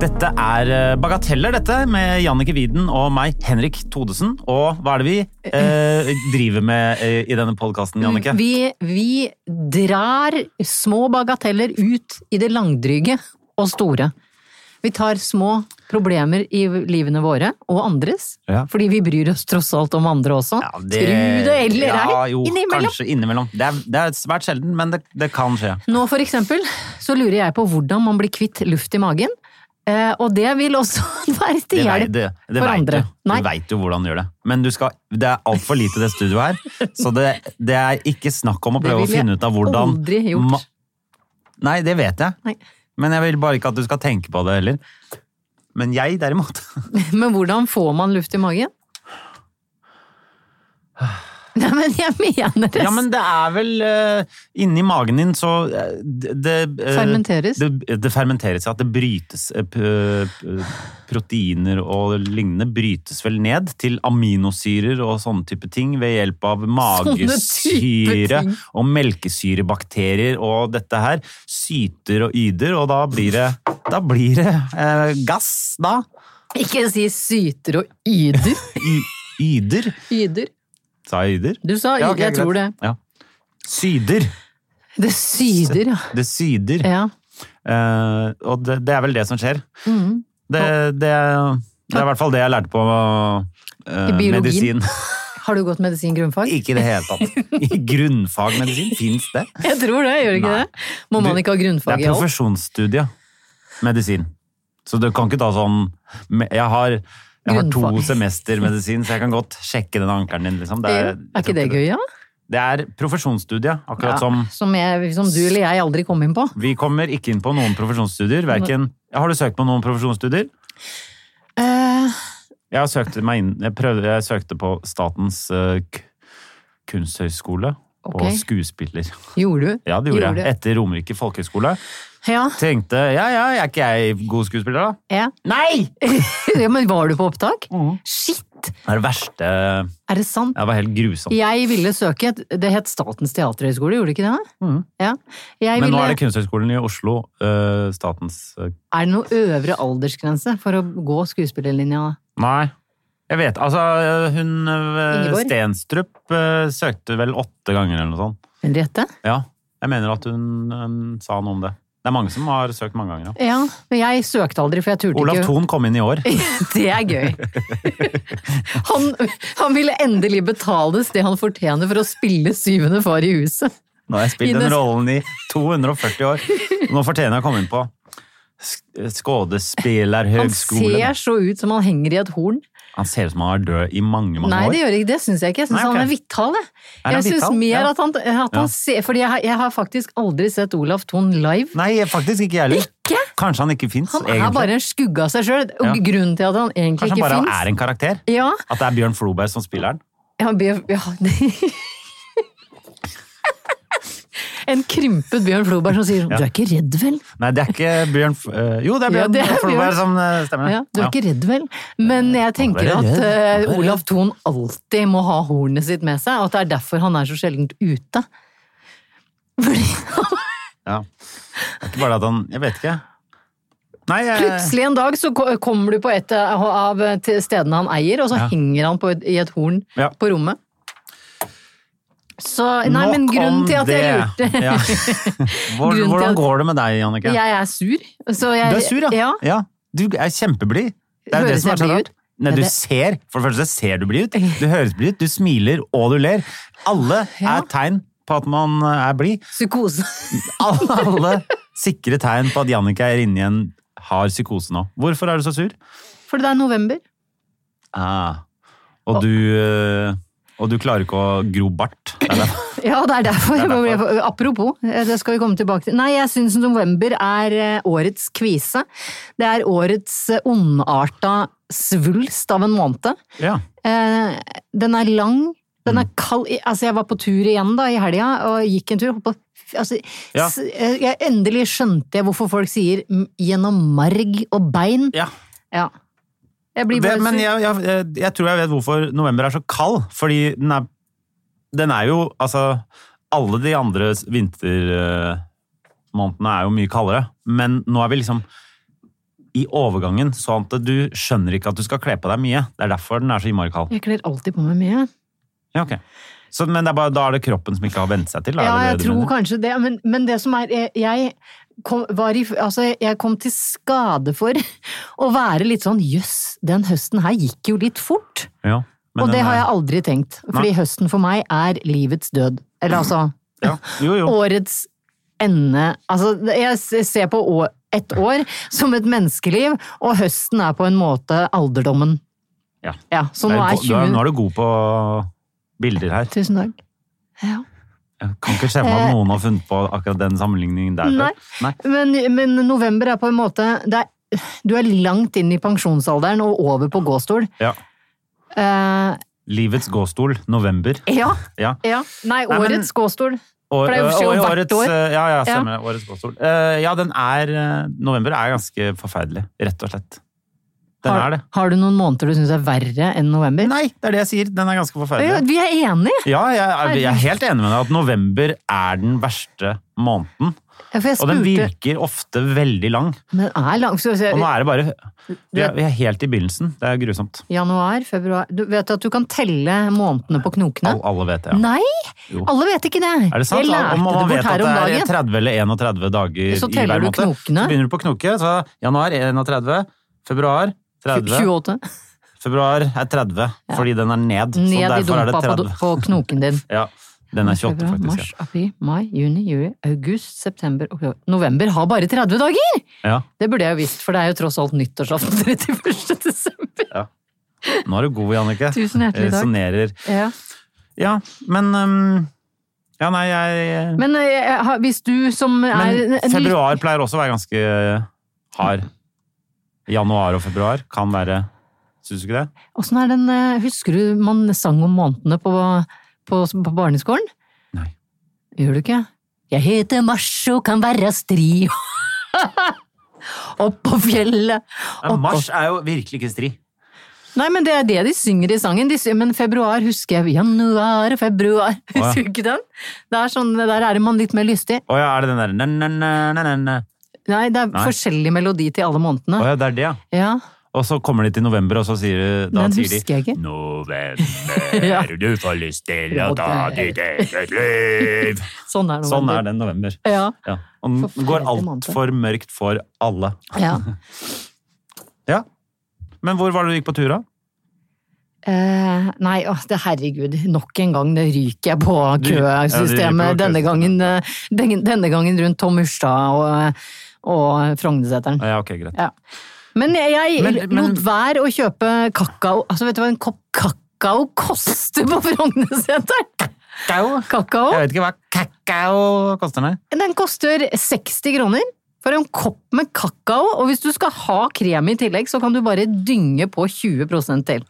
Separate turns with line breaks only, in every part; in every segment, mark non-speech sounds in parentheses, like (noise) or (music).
Dette er eh, Bagateller, dette, med Jannicke Wieden og meg, Henrik Todesen. Og hva er det vi eh, driver med eh, i denne podkasten, Jannicke?
Mm. Vi, vi drar små bagateller ut i det langdryge og store. Vi tar små problemer i livene våre, og andres.
Ja.
Fordi vi bryr oss tross alt om andre også.
Ja,
Tru det eller ei,
Ja, jo,
innimellom.
Kanskje innimellom. Det er, det er svært sjelden, men det, det kan skje.
Nå for eksempel, så lurer jeg på hvordan man blir kvitt luft i magen. Eh, og det vil også (laughs) være til
Det vei-
hjelp.
det, det
for
vet
andre.
Du,
Nei.
du veit jo hvordan du gjør det. Men du skal, det er altfor lite i det studioet her, så det, det er ikke snakk om å
Det
prøve å
ville jeg
finne ut av hvordan
aldri gjort.
ma- Nei, det vet jeg.
Nei.
Men jeg vil bare ikke at du skal tenke på det heller. Men jeg, derimot
(laughs) Men hvordan får man luft
(sighs)
i magen? Nei, men jeg mener det!
Ja, men det er vel eh, Inni magen din så eh, det, det, eh,
Fermenteres.
Det, det fermenteres, ja. Det brytes eh, p- eh, p- Proteiner og lignende brytes vel ned til aminosyrer og sånne type ting ved hjelp av
type
magesyre
ting.
og melkesyrebakterier og dette her. Syter og yder, og da blir det, da blir det eh, gass, da.
Ikke si syter og yder.
Y yder.
Yder.
Sa jeg yder?
Du sa
Ja, ok,
jeg tror det.
greit. Ja. Syder.
Det syder,
(laughs)
ja.
Det syder.
ja.
Eh, og det, det er vel det som skjer.
Mhm.
Det, det, det er i hvert fall det jeg lærte på eh,
I biologien?
medisin.
Har du gått medisin grunnfag?
Ikke i det hele tatt. I grunnfagmedisin fins det.
Jeg tror det, gjør det ikke
Nei.
det? Må man
Du-
ikke ha
Det
grunnfag
er
i alt?
profesjonsstudie medisin. Så du kan ikke ta sånn me- Jeg har, jeg har to
Grunnfag.
semester medisin, så jeg kan godt sjekke den ankelen din, liksom. Det
Er,
er,
ikke det gøy, ja?
Det er profesjonsstudie, akkurat
Ja,
som
Som, jeg, som du eller jeg aldri kom inn på.
Vi kommer ikke inn på noen profesjonsstudier. Hverken, har du søkt på noen profesjonsstudier?
Eh,
Jeg har søkt meg inn Jeg, prøvde, jeg søkte på Statens eh, k- kunsthøgskole
Ok.
og skuespiller.
gjorde du?
Ja, det gjorde,
Gjorde.
jeg. Etter Romerike folkehøgskole.
Ja.
Tenkte ja, ja, er ikke jeg god skuespiller, da?
ja.
Nei! Det
ja. Men var du på opptak? Shit!
er det verste Jeg
Er det sant?
var helt grusom.
Jeg ville søke et- Det het Statens teaterhøgskole, gjorde det ikke det?
Mhm.
Ja. Jeg
Men
ville,
nå er det Kunsthøgskolen i Oslo. eh, statens eh,
er det noe øvre aldersgrense for å gå skuespillerlinja?
Nei. Jeg vet Altså, eh, hun eh,
Ingeborg?
Stenstrup eh, søkte vel åtte ganger eller noe sånt.
Henriette?
Ja. Jeg mener at hun eh, sa noe om det. Det er mange som har søkt mange ganger. Ja.
Ja, men jeg søkte aldri, for jeg turte
Olav
ikke.
Thon kom inn i år.
(laughs) Det er gøy. (laughs) Han, han ville endelig betales det han fortjener for å spille syvende far i huset.
Nå har jeg spilt
I
den
neste-
rollen i 240 år. Nå fortjener jeg å komme inn på sk-
Han
Skådespillerhøgskolen.
ser så ut som han henger i et horn.
Han ser ut som han har vært død i mange, mange
Nei, det
år.
gjør ikke det, syns jeg ikke. Jeg syns
Nei, ok.
han er vital, jeg.
Er han
Jeg syns
vital?
mer
Ja.
at han, at
Ja.
han ser Fordi jeg, har- jeg har faktisk aldri sett Olaf Thon live.
Nei, faktisk ikke jeg heller.
Ikke?
Kanskje han ikke fins,
Han er bare
egentlig.
en skugge av seg sjøl.
Ja.
Grunnen til at han egentlig
Kanskje han
ikke
bare
fins.
er en karakter?
Ja,
At det er Bjørn Floberg som spiller han?
Ja, Bjørn, ja. det- (laughs) En krympet Bjørn Floberg som sier Du er ikke redd, vel?
Nei, det er ikke Bjørn F- eh, Jo, det er
Ja,
Bjørn
det er Bjørn.
Floberg som eh, stemmer.
Ja, du er
Ja.
ikke redd, vel? Men jeg tenker
være
at
redd,
eh, Olav Thon alltid må ha hornet sitt med seg, og at det er derfor han er så sjeldent ute. (laughs) Fordi
Ja. Det er ikke bare at han Jeg vet ikke. Nei, jeg,
plutselig en dag så ko- kommer du på et av til stedene han eier, og så
Ja.
henger han på et, i et horn
Ja.
på rommet. Så Nei,
Nok
men grunnen
om
til at jeg lurte
det.
(laughs)
Ja. Hvor,
Grunnen til
hvordan
at-
går det med deg, Jannicke?
Jeg er sur. Så jeg,
Du er sur, ja.
ja.
ja. Du er kjempeblid. Det er jo det
Høres
som er
jeg
så
blid
rart.
ut?
Nei,
Ja,
du
det-
ser, For det første ser du
(laughs)
blid ut, du høres blid ut, du smiler og du ler. Alle
Ja.
er tegn på at man eh, er blid.
Psykose.
Alle, (laughs) alle sikre tegn på at Jannicke er inne i en hard psykose nå. Hvorfor er du så sur?
For det er november.
Ah. Og du eh, Og du klarer ikke å gro bart.
(laughs)
Det er derfor.
Ja, det er derfor.
Det er derfor.
Apropos, eh, det skal vi komme tilbake til. Nei, jeg syns november er eh, årets kvise. Det er årets eh, ondarta svulst av en måned.
Ja.
Eh, Den er lang, den
Mm.
er kald. I- Altså, jeg var på tur igjen da i helga og gikk en tur. holdt på- Altså,
Ja.
s- eh, jeg endelig skjønte jeg hvorfor folk sier mm, gjennom marg og bein.
ja.
Ja. Jeg blir
Det,
bare
men
sur.
jeg, jeg, jeg tror jeg vet hvorfor november er så kald. Fordi den er, den er jo Altså, alle de andre vintermånedene er jo mye kaldere, men nå er vi liksom i overgangen, sånn at du skjønner ikke at du skal kle på deg mye. Det er derfor den er så innmari kald.
Jeg kler alltid på meg mye.
Ja, ok. Så, men det er bare, da er det kroppen som ikke har vent seg til? er det
Ja, jeg
det du
tror
mener?
kanskje det. Men, men det som er jeg- Jeg kom, var i, altså, jeg kom til skade for (laughs) å være litt sånn jøss, den høsten her gikk jo litt fort.
Ja, men
og det
den
har
er-
jeg aldri tenkt. Fordi høsten for meg er livets død. Eller altså
ja. Jo, jo.
årets ende Altså, jeg s- ser på å- ett år som et menneskeliv, og høsten er på en måte alderdommen.
Ja.
så nå
Det
er
go- du er-
20
Nå er du god på bilder her.
Tusen takk. Ja.
Jeg kan ikke se for meg at noen har funnet på akkurat den sammenligningen der.
Eh. Nei.
Nei.
Men, men november er på en måte det er, Du er langt inn i pensjonsalderen og over på gåstol.
Ja.
Eh,
Livets gåstol, november.
ja,
Ja.
ja. Nei,
Nei, men-
årets gåstol.
År,
For det er jo for
øh,
hvert
årets,
år.
øh, Ja, ja, stemmer. det. Årets gåstol. Eh, ja, den er eh, November er ganske forferdelig, rett og slett. Den
Har,
er det.
har du noen måneder du syns er verre enn november?
Nei, det er det jeg sier. Den er ganske
Ja,
forferdelig.
vi er enige!
Ja, jeg, er- jeg er helt enig med deg at november er den verste måneden.
Ja, For jeg
Og den
spurte
virker ofte veldig lang.
Men er lang, skal vi se
Og nå er det bare Vi er, vi er helt i begynnelsen. Det er grusomt.
Januar, februar Du vet at du kan telle månedene på knokene?
All, alle vet det. Ja.
Nei!
Jo.
Alle vet ikke det!
Er det sant?
Jeg lærte
om man
det
vet
bort
at
her om
det er
dagen.
30 eller 31 dager
Så
i hver
teller du
måned,
knokene.
så begynner du på knoke. Så januar 31, februar 30,
28.
februar er 30, fordi den er ned. Så
Ned i
derfor er det
dumpa på,
30.
på knoken din.
Ja, den er 28
Februar,
faktisk.
Mars, april, mai, juni, juli, august, september, oktober. November har bare 30 dager!
Ja.
Det burde jeg jo visst, for det er jo tross alt nyttårsaften (laughs) 31. desember.
ja. Nå er du god, Jannicke.
Tusen hjertelig takk.
Resonerer.
Ja.
Ja, men øhm, Ja, nei, jeg
Men eh, jeg har- hvis du som er
Men februar pleier også å være ganske hard. Januar og februar kan være Syns du ikke det?
Åssen er den eh, Husker du man sang om månedene på, på, på barneskolen?
Nei.
Gjør du ikke? Jeg heter Mars og kan være stri. (laughs) Opp på fjellet.
Nei,
Opp-
mars er jo virkelig ikke stri.
Nei, men det er det de synger i sangen. De synger, men februar husker jeg. Januar og februar.
ja.
(laughs) Husker du ikke den? Det er sånn, der er man litt mer lystig.
Å ja, er det den der na-na-na-na-na?
Nei, det er
Nei.
forskjellig melodi til alle
Å
månedene.
ja, det er det, ja.
Ja.
Og så kommer de til november, og så sier, da
Den
sier de
husker jeg ikke. (laughs)
November,
Ja.
du får lyst til å
Ja,
ta
det
ditt eget
(laughs)
liv.
Sånn er det.
Sånn er den november.
Ja.
Ja. Og den
Forferdelig
går
måned.
altfor mørkt for alle. (laughs)
ja.
Ja. Men hvor var det du gikk på tur, da?
Eh, nei, åh, det, herregud, nok en gang det ryker jeg på
Du- ja, du ryker på
køsystemet.
køsystemet.
denne, gangen, eh, den- denne gangen rundt Tom Hurstad og, og Frognerseteren.
Ja, ok, greit.
Ja. Men jeg, jeg
Men- men-
lot være å kjøpe kakao. Altså, vet du hva en kopp kakao koster på Frognerseteren?
Kakao?
Kakao?
Jeg vet ikke hva kakao koster, nei.
Den koster 60 kroner for en kopp med kakao. Og hvis du skal ha krem i tillegg, så kan du bare dynge på 20 til.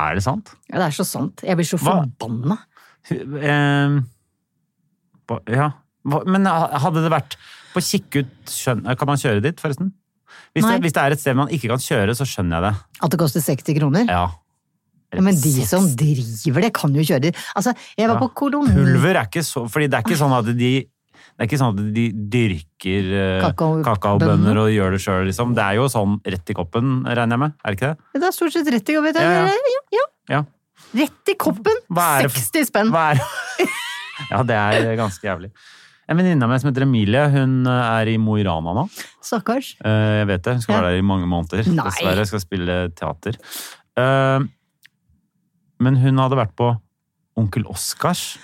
Er det sant?
Ja, det er så sant. Jeg blir så
Hva?
forbanna.
Eh, på- ja. Hva- Men hadde det vært På Kikkut skjønner- Kan man kjøre dit, forresten? Hvis
Nei.
det, hvis det er et sted man ikke kan kjøre, så skjønner jeg det.
At det koster 60 kroner?
Ja.
Ja, men de
Seks-
som driver det, kan jo kjøre Altså, jeg var
Ja.
på kolon...
Pulver er ikke så Fordi det er ikke sånn at de det er ikke sånn at de dyrker eh,
Kakao-
kakaobønner og gjør det sjøl, liksom. Det er jo sånn rett i koppen, regner jeg med? Er det ikke det?
Det er stort sett rett i koppen.
Ja, ja.
Ja, ja.
Ja.
Rett i koppen!
Hva er det for-
60 spenn.
Hva er (laughs) Ja, det er ganske jævlig. En venninne av meg som heter Emilie, hun eh, er i Mo i Rana nå.
Stakkars.
Eh, Jeg vet det. Hun skal
Ja.
være der i mange måneder.
Nei.
Dessverre. Skal spille teater. Eh, Men hun hadde vært på Onkel Oscars.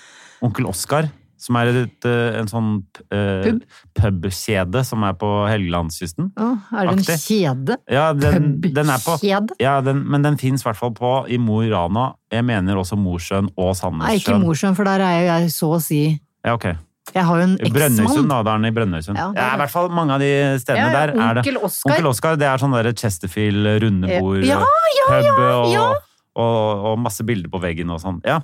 Onkel Oscar, som er et, eh, en sånn eh,
Pub?
pubkjede som er på Helgelandskysten.
Å, er det en
Aktig.
kjede?
Ja, den,
Pub-
den er på
Kjede?
ja, den, Men den fins i hvert fall på i Mo i Rana. Jeg mener også Mosjøen og
Nei, ikke
Sandnessjøen.
Mosjøen, for der er jo jeg så å si
Ja, ok.
Jeg har jo en
I Brønnøysund,
eksmann.
da. Da er den i Brønnøysund.
Ja,
Ja,
det er
I hvert fall mange av de stedene
Ja, ja,
der er det.
Onkel Oscar.
Onkel Oscar, det er sånn der Chesterfield, rundebord,
Ja,
pub og,
ja.
og, og masse bilder på veggen og sånn. Ja,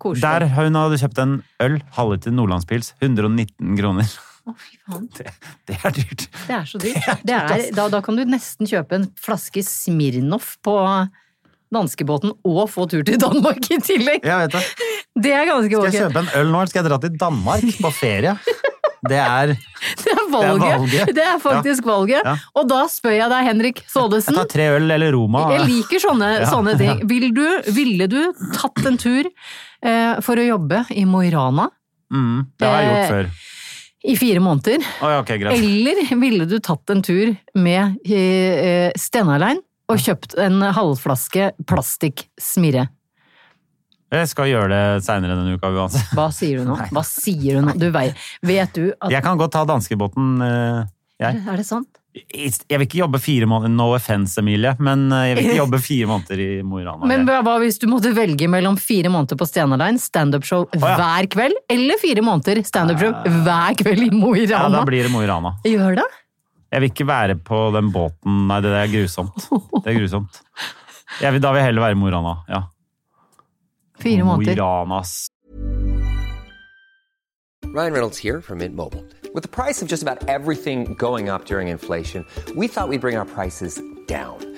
Koselig.
der hun hadde kjøpt en øl, halvliter Nordlandspils, 119 kroner.
Å, fy faen.
Det er dyrt.
Det er
(laughs)
så dyrt. Det er, da, da kan du nesten kjøpe en flaske Smirnoff på danskebåten og få tur til Danmark i tillegg.
Jeg vet det.
Det er ganske
Skal jeg
ok.
kjøpe en øl nå, eller skal jeg dra til Danmark på ferie? Det er Jeg
Det er (laughs) valget. Det er,
valget.
faktisk valget.
Ja.
Og da spør jeg deg, Henrik Saadesen.
tar tre øl eller Roma.
Jeg liker sånne,
Ja.
sånne ting.
(laughs)
Vil du, ville du tatt en tur eh, for å jobbe i Mo i Rana
Mm, det har jeg gjort før.
i fire måneder?
Å ja, ok, greit.
Eller ville du tatt en tur med eh, Stenarlein og kjøpt en halvflaske plastikksmirre?
Jeg skal gjøre det seinere denne uka uansett.
Hva sier du nå? Hva sier du nå? Du vei- vet du at
Jeg kan godt ta danskebåten. eh, jeg.
Er det sant?
Jeg vil ikke jobbe fire måneder No offense, Emilie, men eh, jeg vil ikke jobbe fire måneder i Mo i Rana.
Men hva hvis du måtte velge mellom fire måneder på Stenarlein, standup-show
ja. Eh.
hver kveld, eller fire måneder standup-show hver kveld i Mo i
ja, da
Rana?
blir det Mo i Rana.
Gjør det?
Jeg vil ikke være på den båten. Nei, det er grusomt. Det er grusomt. Jeg vil, da vil jeg heller være i Mo i Rana. Ja.
Fire
Mo i
måneder.
Rana, ass.
Ryan Reynolds here from Mint Mobile. With the price of just about everything going up during inflation, we thought we'd bring our prices down.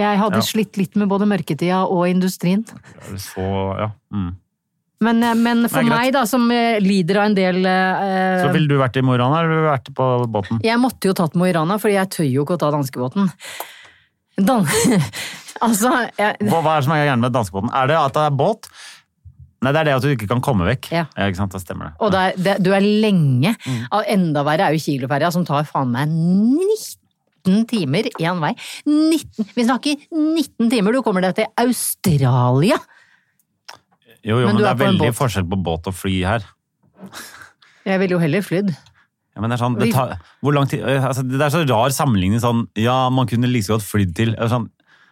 Jeg hadde
Ja.
slitt litt med både mørketida og industrien.
Er det Så, ja. mm.
Men, eh, men for
Nei, greit.
meg, da, som eh, lider av en del eh,
Så ville du vært i Mo i Rana, eller ville du vært på båten?
Jeg måtte jo tatt Mo i Rana, fordi jeg tør jo ikke å ta danskebåten. Dan... (laughs) altså, jeg...
Hva, hva er det som er gærent med danskebåten? Er det at det er båt? Nei, det er det at du ikke kan komme vekk.
Ja.
ikke sant? Da stemmer det.
Og det er, det, du er lenge.
Mm.
Og Enda verre er jo kiloferja, som tar faen meg 19 timer én vei. 19, vi snakker 19 timer! Du kommer deg til Australia!
Jo, jo,
Men
men,
du
det
er
er
på en
veldig
båt.
forskjell på båt og fly her.
Jeg ville jo heller flydd.
Ja, men det er sånn, det,
Vi-
tar, hvor lang tid, altså, det er så rar sammenligning sånn Ja, man kunne like så godt flydd til eller sånn,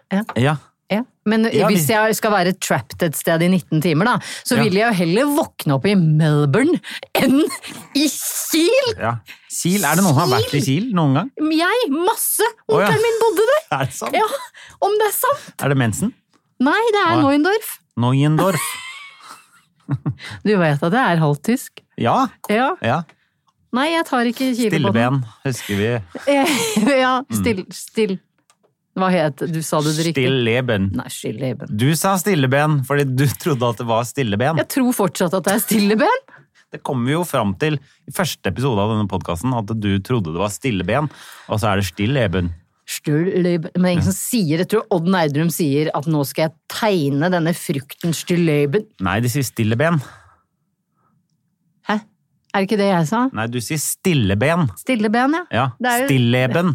Ja.
ja.
Ja. Men
Ja, vi-
hvis jeg skal være trapped et sted i 19 timer, da, så
Ja.
vil jeg jo heller våkne opp i Melbourne enn i Kiel!
ja. Kiel, er det noen som har vært i Kiel noen gang?
Jeg! Masse!
Å, ja.
Onkelen min bodde der!
Er det sant?
Ja, Om det er sant?
Er det mensen?
Nei, det er
Nei.
Neuendorf.
Neuendorf?
Du vet at det er halvt tysk?
Ja.
Ja.
ja.
Nei, jeg tar ikke kilebåten.
Stilleben, husker vi.
(laughs) ja,
Mm.
still, still. Hva het Du sa det riktig?
Stilleben.
Nei, stilleben.
Du sa stilleben fordi du trodde at det var stilleben.
Jeg tror fortsatt at det er stilleben.
Det kommer vi jo fram til i første episode av denne podkasten, at du trodde det var stilleben, og så er det stilleben.
Stilleben. Men ingen som sier det. Jeg tror Odd Nerdrum sier at nå skal jeg tegne denne frukten stilleben.
Nei, de sier stilleben.
Hæ? Er det ikke det jeg sa?
Nei, du sier stilleben.
Stilleben, ja.
Ja,
Det er jo-
stilleben.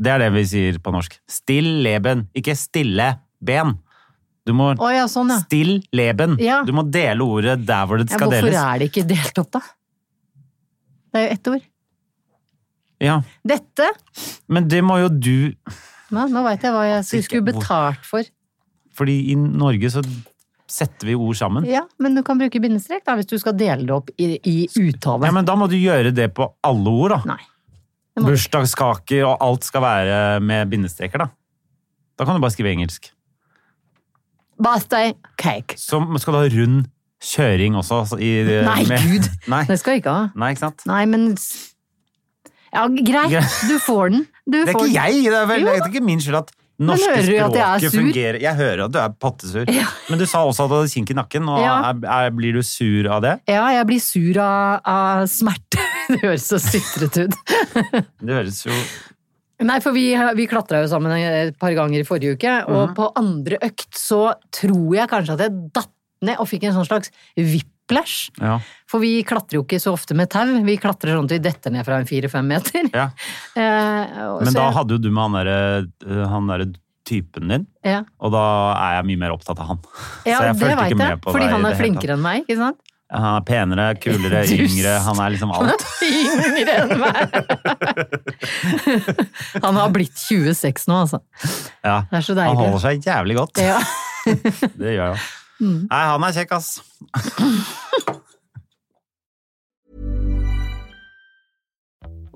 Det er det vi sier på norsk. Stilleben, ikke stilleben. Du må
Å ja, sånn, ja.
Stilleben.
Ja.
Du må dele ordet der hvor det
ja
skal
hvorfor
deles.
er det ikke delt opp, da? Det er jo ett ord.
Ja.
Dette
Men det må jo du
Nå, nå veit jeg hva jeg skulle, skulle betalt for.
Fordi i Norge så setter vi ord sammen.
Ja, Men du kan bruke bindestrek da, hvis du skal dele det opp i, i uttale.
Ja, men da må du gjøre det på alle ord, da.
Nei. Det må-
Bursdagskaker og alt skal være med bindestreker, da. Da kan du bare skrive engelsk.
Birthday cake.
Så skal du ha rund kjøring også. altså, I,
Nei, Gud!
Nei.
Det skal vi ikke ha.
Nei, ikke sant?
Nei, men s- Ja, greit.
Greit.
Du får den. Du
Det er
får
ikke jeg! Det er, vel,
Jo
det er ikke min skyld at norske
hører du at jeg er
språket
sur?
fungerer Jeg hører at du er pattesur. Men du sa også at du hadde kink i nakken. Og
Ja.
er, er, blir du sur av det?
Ja, jeg blir sur av, av smerte. (laughs) Det høres så sutret ut.
Det høres jo
Nei, for vi, vi klatra jo sammen et par ganger i forrige uke,
Mhm.
og på andre økt så tror jeg kanskje at jeg datt ned og fikk en sånn slags whiplash.
Ja.
For vi klatrer jo ikke så ofte med tau. Vi klatrer sånn at vi detter ned fra en fire-fem meter.
ja.
(laughs) Eh, og-
Men
så
da
jeg-
hadde jo du med han derre øh, han derre typen din.
ja.
Og da er jeg mye mer opptatt av han.
Ja,
så jeg
det
fulgte
vet
ikke
jeg,
med på
fordi
deg. i
han
det
er
hele tatt.
flinkere enn meg, ikke sant?
Han er penere,
(laughs)
kulere,
Dust.
yngre. Han er liksom
(laughs)
alt.
Yngre enn
(laughs)
meg! (laughs) Han har blitt 26 nå, altså.
Ja.
Det er så
Han
deilig.
holder seg jævlig godt.
Ja. Mm.
Det gjør han. Nei, han er kjekk, ass.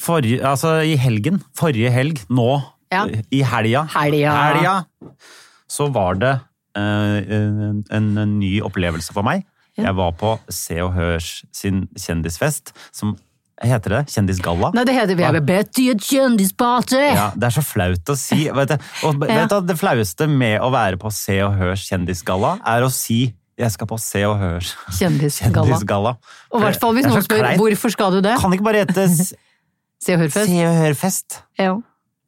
Forrige, altså i helgen, forrige helg, nå,
Ja.
i helga,
Helga.
helga, så var det eh, en, en, en ny opplevelse for meg. Jeg var på Se og Hørs sin kjendisfest, som heter det, Kjendisgalla.
Nei, det heter vi har bedt i et kjendisparty!
Ja, det er så flaut å si. Vet du, og,
Ja.
vet du, hva det flaueste med å være på Se og Hørs kjendisgalla, er å si jeg skal på Se og Hørs
Kjendisgalla.
kjendisgalla.
Og i hvert fall hvis
Det er
noen
så
spør
kleint.
hvorfor skal du det?
Kan det ikke
(laughs)
bare hete S-
Se og hør
Se
først.
og Hør-fest?
Ja.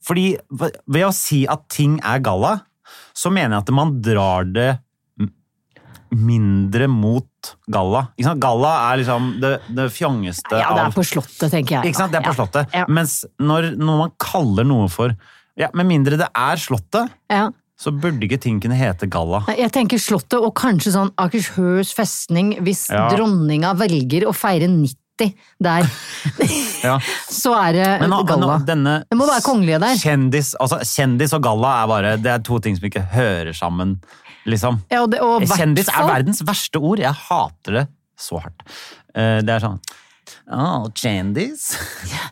Fordi v- ved å si at ting er galla, så mener jeg at man drar det m- mindre mot galla. Ikke sant? Galla er liksom det, det fjongeste
ja, det
av
er på Slottet, tenker jeg.
Ikke sant? Det er på
Ja.
Slottet.
Ja.
Mens når, når man kaller noe for ja, Med mindre det er Slottet,
Ja.
så burde ikke ting kunne hete galla.
Nei, Jeg tenker Slottet og kanskje sånn Akershus festning, hvis
Ja.
dronninga velger å feire 90 der, (laughs)
Ja.
så er det
Men nå-
galla.
nå- denne
Det må være kongelige der.
Kjendis, altså, kjendis og galla er bare Det er to ting som ikke hører sammen, liksom.
Ja, og det, og
Kjendis er
hvertfall-
verdens verste ord. Jeg hater det så hardt. Eh, Det er sånn Å, kjendis.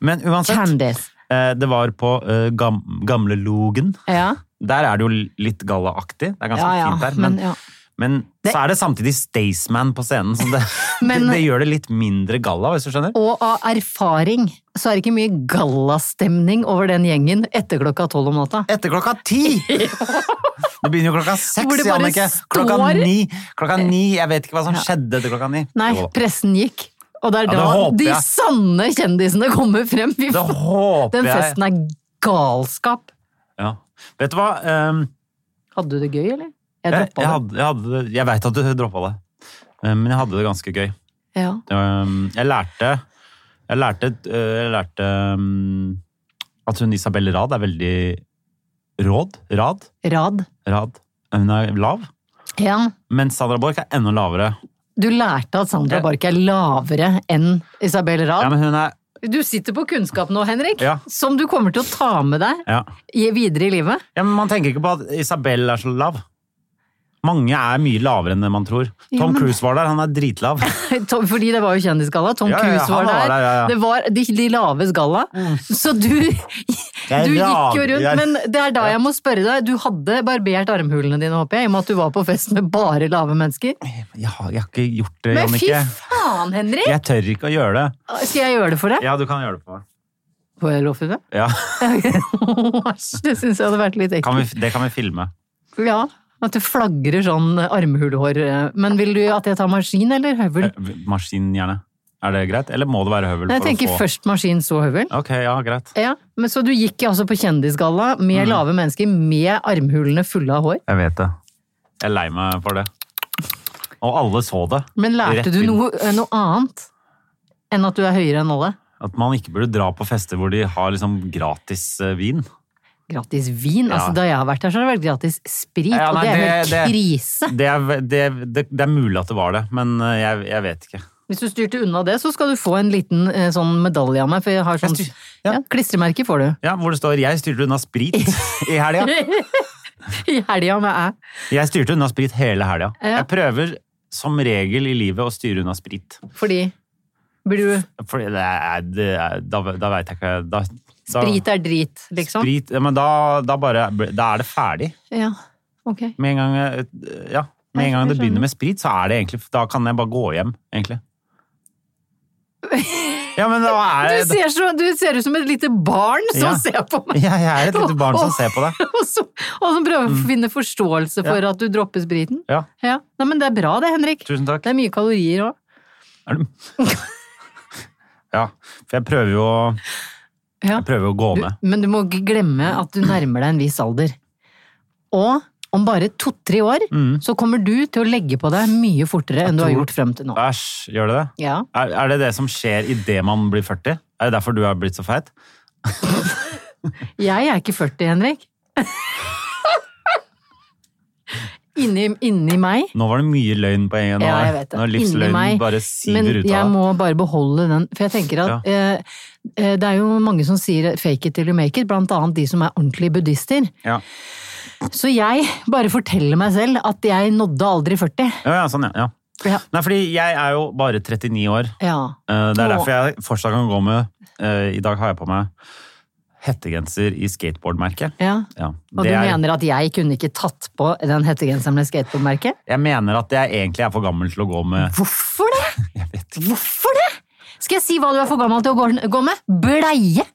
Men uansett,
Kjendis.
eh, det var på eh, gam, gamle Logen.
Ja.
Der er det jo litt gallaaktig. Det er ganske
Ja, ja,
fint der. Men,
men ja.
men så er det samtidig Staysman på scenen, så det,
(laughs) Men- eh,
det, det gjør det litt mindre galla, hvis du skjønner.
Og av erfaring så er det ikke mye gallastemning over den gjengen etter klokka tolv om natta.
Etter klokka ti!
(laughs)
Det begynner jo klokka
Hvor
seks,
det bare
Jannicke. Klokka
står-
ni. Klokka ni. Jeg vet ikke hva som skjedde etter klokka ni.
Nei,
Jo da.
pressen gikk. Og det er
Ja, det
da
håper
de
jeg.
sanne kjendisene kommer frem. Fy
det
faen,
håper
Den
jeg.
festen er galskap.
Ja. Vet du hva? Um,
Hadde du det gøy, eller? Jeg
Jeg,
droppa
jeg,
det.
hadde, jeg, hadde, det- jeg vet at du droppa det, Eh, men jeg hadde det ganske gøy.
Ja.
Um, Jeg lærte Jeg lærte, eh, jeg lærte um, at hun Isabel Rad er veldig råd. Rad.
Rad.
Rad. Hun er lav.
Ja.
Mens Sandra Borch er enda lavere.
Du lærte at Sandra
Jeg-
Borch er lavere enn Isabel
Ja,
Rad.
men hun er
Du sitter på kunnskap nå, Henrik,
Ja.
som du kommer til å ta med deg
ja.
i- videre i livet. (laughs)
ja, men Man tenker ikke på at Isabel er så lav. Mange er mye lavere enn det man tror. Tom Cruise var der, han er
(laughs)
dritlav.
Tom, fordi det var jo kjendisgalla. Tom
Ja, ja, han
Cruise var
var
der.
der, ja, ja. Mm.
Det var de, de laves galla. Så du,
Jeg
du
lav-
gikk jo rundt,
jeg-
men det er da jeg må spørre deg. Du hadde barbert armhulene dine, håper jeg, i og med at du var på fest med bare lave mennesker.
Jeg har, jeg har ikke gjort det,
Men fy
Jannicke.
faen, Henrik!
Jeg tør ikke å gjøre det.
Skal jeg gjøre det for deg?
Ja, du kan gjøre det på meg.
Får jeg lov til det? (laughs)
Ja. (laughs)
Æsj, det syns jeg hadde vært litt
Kan
ekkelt.
vi, det kan vi filme.
Ja, at du flagrer sånn armhulehår. Men vil du at jeg tar maskin eller høvel?
Eh, Maskin, gjerne. Er det greit? Eller må det være høvel?
Jeg
for å
tenker
få-
først maskin, så høvel.
Ok, ja, greit.
Ja, men Så du gikk altså på kjendisgalla med
Mm.
lave mennesker med armhulene fulle av hår.
Jeg vet det. Jeg er lei meg for det. Og alle så det.
Men lærte
Rett
du
inn.
noe, eh, noe annet enn at du er høyere enn alle?
At man ikke burde dra på fester hvor de har liksom gratis eh, vin.
Gratis vin?
Ja.
altså Da jeg har vært der, så har det vært gratis sprit,
Ja,
og det
nei,
er jo
det-
helt
det-
krise.
Det er, ve- det, det, det er mulig at det var det, men eh, jeg, jeg vet ikke.
Hvis du styrte unna det, så skal du få en liten eh, sånn medalje av meg, for jeg har sånn
Jeg styr- ja.
ja. klistremerke får du.
Ja, Hvor det står 'Jeg styrte unna sprit' i helga.
(laughs) I helga med æ.
Jeg styrte unna sprit hele helga.
Ja.
Jeg prøver som regel i livet å styre unna sprit.
Fordi blir du
For det er, det er, da da veit jeg ikke da, da,
Sprit er drit, liksom?
Sprit, ja, men da, da, bare, da er det ferdig.
Ja, ok.
Med en gang, eh, ja, med en gang det begynner med sprit, så er det egentlig Da kan jeg bare gå hjem, egentlig.
(laughs)
Ja, men da er
Du ser, så, du ser ut som et lite barn som
Ja.
(laughs) ser på meg!
(laughs) Ja, jeg er et lite barn som ser på deg.
og, som, og som prøver
Mm.
å finne forståelse for at du dropper spriten.
Ja,
Ja. Nei, men det er bra det, Henrik.
tusen takk.
Det er mye kalorier òg.
Er du... (laughs) ja, for jeg prøver jo å,
Ja.
jeg prøver jo å gå med.
Men du må ikke glemme at du nærmer deg en viss alder. Og om bare to-tre år så kommer du til å legge på deg mye fortere enn du har
tror-
gjort frem til nå.
Æsj, gjør det det?
Ja.
Er, er det det som skjer idet man blir 40? Er det derfor du har blitt så feit?
Jeg er ikke 40, Henrik. (laughs) inni, inni meg.
Nå var det mye løgn på en gang. Nå,
Ja, jeg
er-
vet det.
Nå er
Inni
livsløgnen
meg.
bare
Men
siver ut
jeg
av deg.
må bare beholde den, for jeg tenker at eh, eh, det er jo mange som sier eh, fake it till you make it, blant annet de som er ordentlige buddhister.
Ja.
Så jeg bare forteller meg selv at jeg nådde aldri 40.
Ja, ja, sånn, ja. ja.
Ja.
Nei, fordi jeg er jo bare 39 år.
ja.
Eh, Det er
Åh.
derfor jeg fortsatt kan gå med eh, I dag har jeg på meg hettegenser i skateboardmerket.
ja.
Ja,
Og
det
du
er-
mener at jeg kunne ikke tatt på den hettegenseren med skateboardmerke?
Jeg mener at jeg egentlig er for gammel til å gå med
Hvorfor det?
(laughs)
Hvorfor det? Skal jeg si hva du er for gammel til å gå- gå med? Bleie!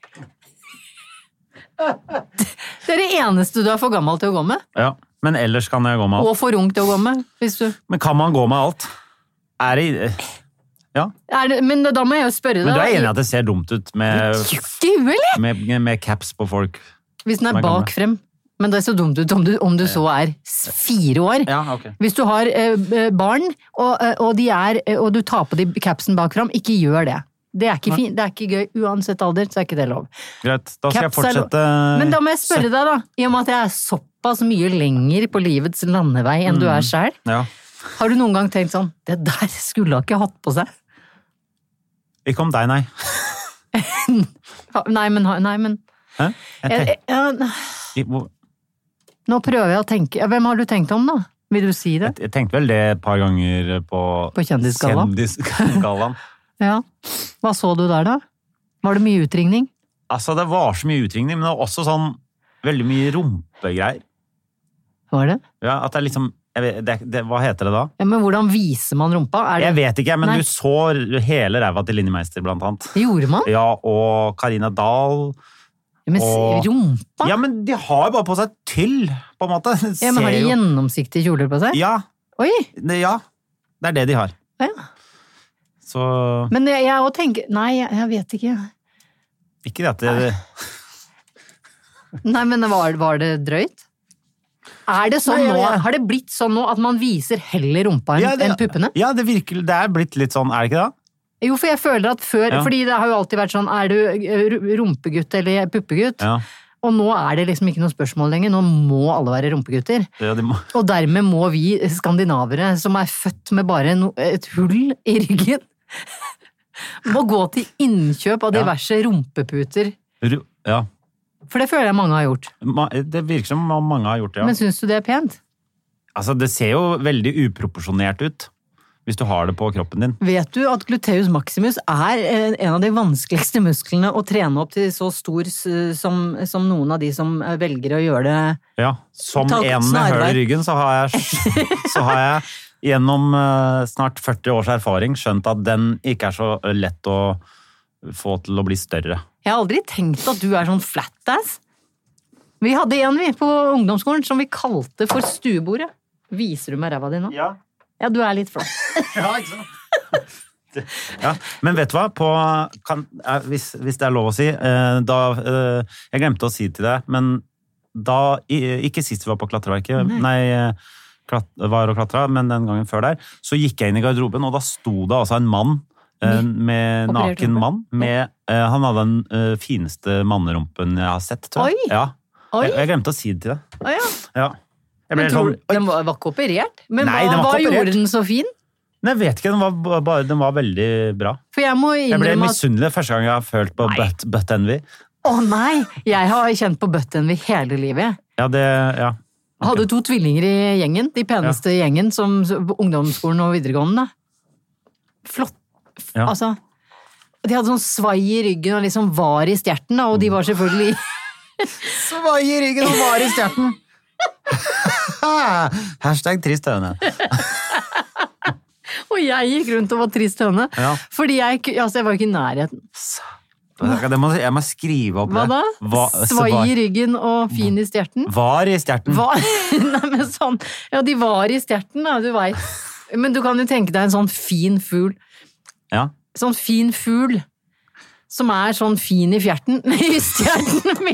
Det er det eneste du er for gammel til å gå med.
ja. Men ellers kan jeg gå med alt.
Og for ung til å gå med. Hvis du...
Men kan man gå med alt? Er det Ja.
er det... Men da må jeg jo spørre deg.
Men du er
da.
enig i at det ser dumt ut med,
(laughs) Tjukk i huet, eller?
med, med caps på folk?
Hvis den
Som
er
er gammel.
bak frem. Men det er så dumt ut om du, om du så er s- fire år.
Ja, ok.
Hvis du har eh, b- barn, og, eh, og, de er, eh, og du tar på de capsen bak frem, ikke gjør det. Det er ikke, fint, det er ikke gøy. Uansett alder, så er ikke det lov.
Greit. Da skal jeg
Caps er lov.
fortsette
Men da må jeg spørre deg, da. I og med at jeg er såpass mye lenger på livets landevei enn
Mm.
du er sjæl,
ja.
har du noen gang tenkt sånn Det der skulle hun ikke hatt på seg.
Ikke om deg, nei.
Ha- Nei, men, ha- nei, men
Hæ?
jeg,
Jeg
jeg, jeg,
tenkte, i- hvor-
Nå prøver jeg å tenke ja, Hvem har du tenkt om, da? Vil du si det?
jeg tenkte vel det et par ganger på
På kjendisgalla?
kjendisgallaen. (laughs)
Ja. Hva så du der, da? Var det mye utringning?
Altså, det var så mye utringning, men det var også sånn veldig mye rumpegreier.
Var det?
Ja, at det er liksom jeg vet, det, det, Hva heter det da?
Ja, Men hvordan viser man rumpa? Er
Jeg
det,
vet ikke, men
Nei.
du så hele ræva til Linni Meister, blant annet.
gjorde man?
Ja, og Karina Dahl.
Ja, Men
Åh.
s- rumpa?
Ja, men de har jo bare på seg tyll, på en måte. De
Ja,
ser
men Har de
jo-
gjennomsiktige kjoler på seg?
Ja,
Oi!
det, ja. Det er det de har.
Ja.
Så
Men jeg, jeg også tenker Nei, jeg, jeg vet ikke.
ikke det at det
Nei, men var, var det drøyt? Er det sånn
Nei, jeg-
nå,
jeg-
Har det blitt sånn nå at man viser heller rumpa enn
ja, det,
enn puppene?
Ja, det, virker, det er blitt litt sånn, er det ikke det?
Jo, for jeg føler at før
Ja.
Fordi det har jo alltid vært sånn Er du eh, ru- rumpegutt eller puppegutt?
Ja.
Og nå er det liksom ikke noe spørsmål lenger. Nå må alle være rumpegutter.
ja de må,
Og dermed må vi skandinavere, som er født med bare no, et hull i ryggen, (laughs) må gå til innkjøp av
Ja.
diverse rumpeputer.
ru- ja.
For det føler jeg mange har gjort.
Ma- Det virker som om mange har gjort det, ja.
Men syns du det er pent?
Altså, det ser jo veldig uproporsjonert ut hvis du har det på kroppen din.
Vet du at gluteus maximus er eh, en av de vanskeligste musklene å trene opp til så stor s- som, som noen av de som eh, velger å gjøre det
Ja, Som
Ta-
en med
snarvei.
høl i ryggen, så har
(laughs)
jeg, så har jeg gjennom eh, snart 40 års erfaring skjønt at den ikke er så lett å få til å bli større.
Jeg har aldri tenkt at du er sånn flat-ass. Vi hadde en vi på ungdomsskolen som vi kalte for stuebordet. Viser du meg ræva di nå?
Ja.
Ja, du er litt flat.
Ja, men vet du hva? På, kan, eh, hvis, hvis det er lov å si eh, da, eh, Jeg glemte å si det til deg, men da i- Ikke sist vi var på klatreverket, nei, eh, klat, var og klatra, men den gangen før der, så gikk jeg inn i garderoben, og da sto det altså en mann eh, med
Operert
naken
rumpe?
mann. Med, eh, han hadde den eh, fineste mannerumpen jeg har sett, tror jeg.
Oi!
Ja.
Oi.
Jeg, jeg glemte å si det til deg.
Å ja.
Ja. Jeg ble
Men tror,
sånn, oi.
den var, var ikke operert? Men
Nei, den
hva,
var
hva
ikke operert.
gjorde den så fin?
Nei, jeg vet ikke, den var, ba- bare, den var veldig bra.
For jeg må
Jeg ble
innrømme at
misunnelig første gang jeg har følt på butt, butt envy.
Å nei! Jeg har kjent på bøtten ved hele livet.
Ja, det, ja.
Jeg hadde to tvillinger i gjengen. De peneste gjengen som som- på ungdomsskolen og videregående. Flott. f-
Ja.
Altså De hadde sånn svai i ryggen og liksom var i stjerten, da, og de var selvfølgelig
Svai i ryggen og var i stjerten. (laughs) Hashtag trist høne.
(laughs) Og jeg gikk rundt og var trist høne.
Ja.
Fordi jeg, ku- altså, jeg var jo ikke i nærheten.
Det må, jeg må skrive opp
Hva
det.
da?
Hva-
Svai i ryggen og fin i stjerten?
Var i stjerten.
Hva? (laughs) Nei, men sånn Ja, de var i stjerten, da, du veit. Men du kan jo tenke deg en sånn fin fugl
Ja.
Sånn fin fugl. Som er sånn fin i fjerten (laughs) I stjerten, men-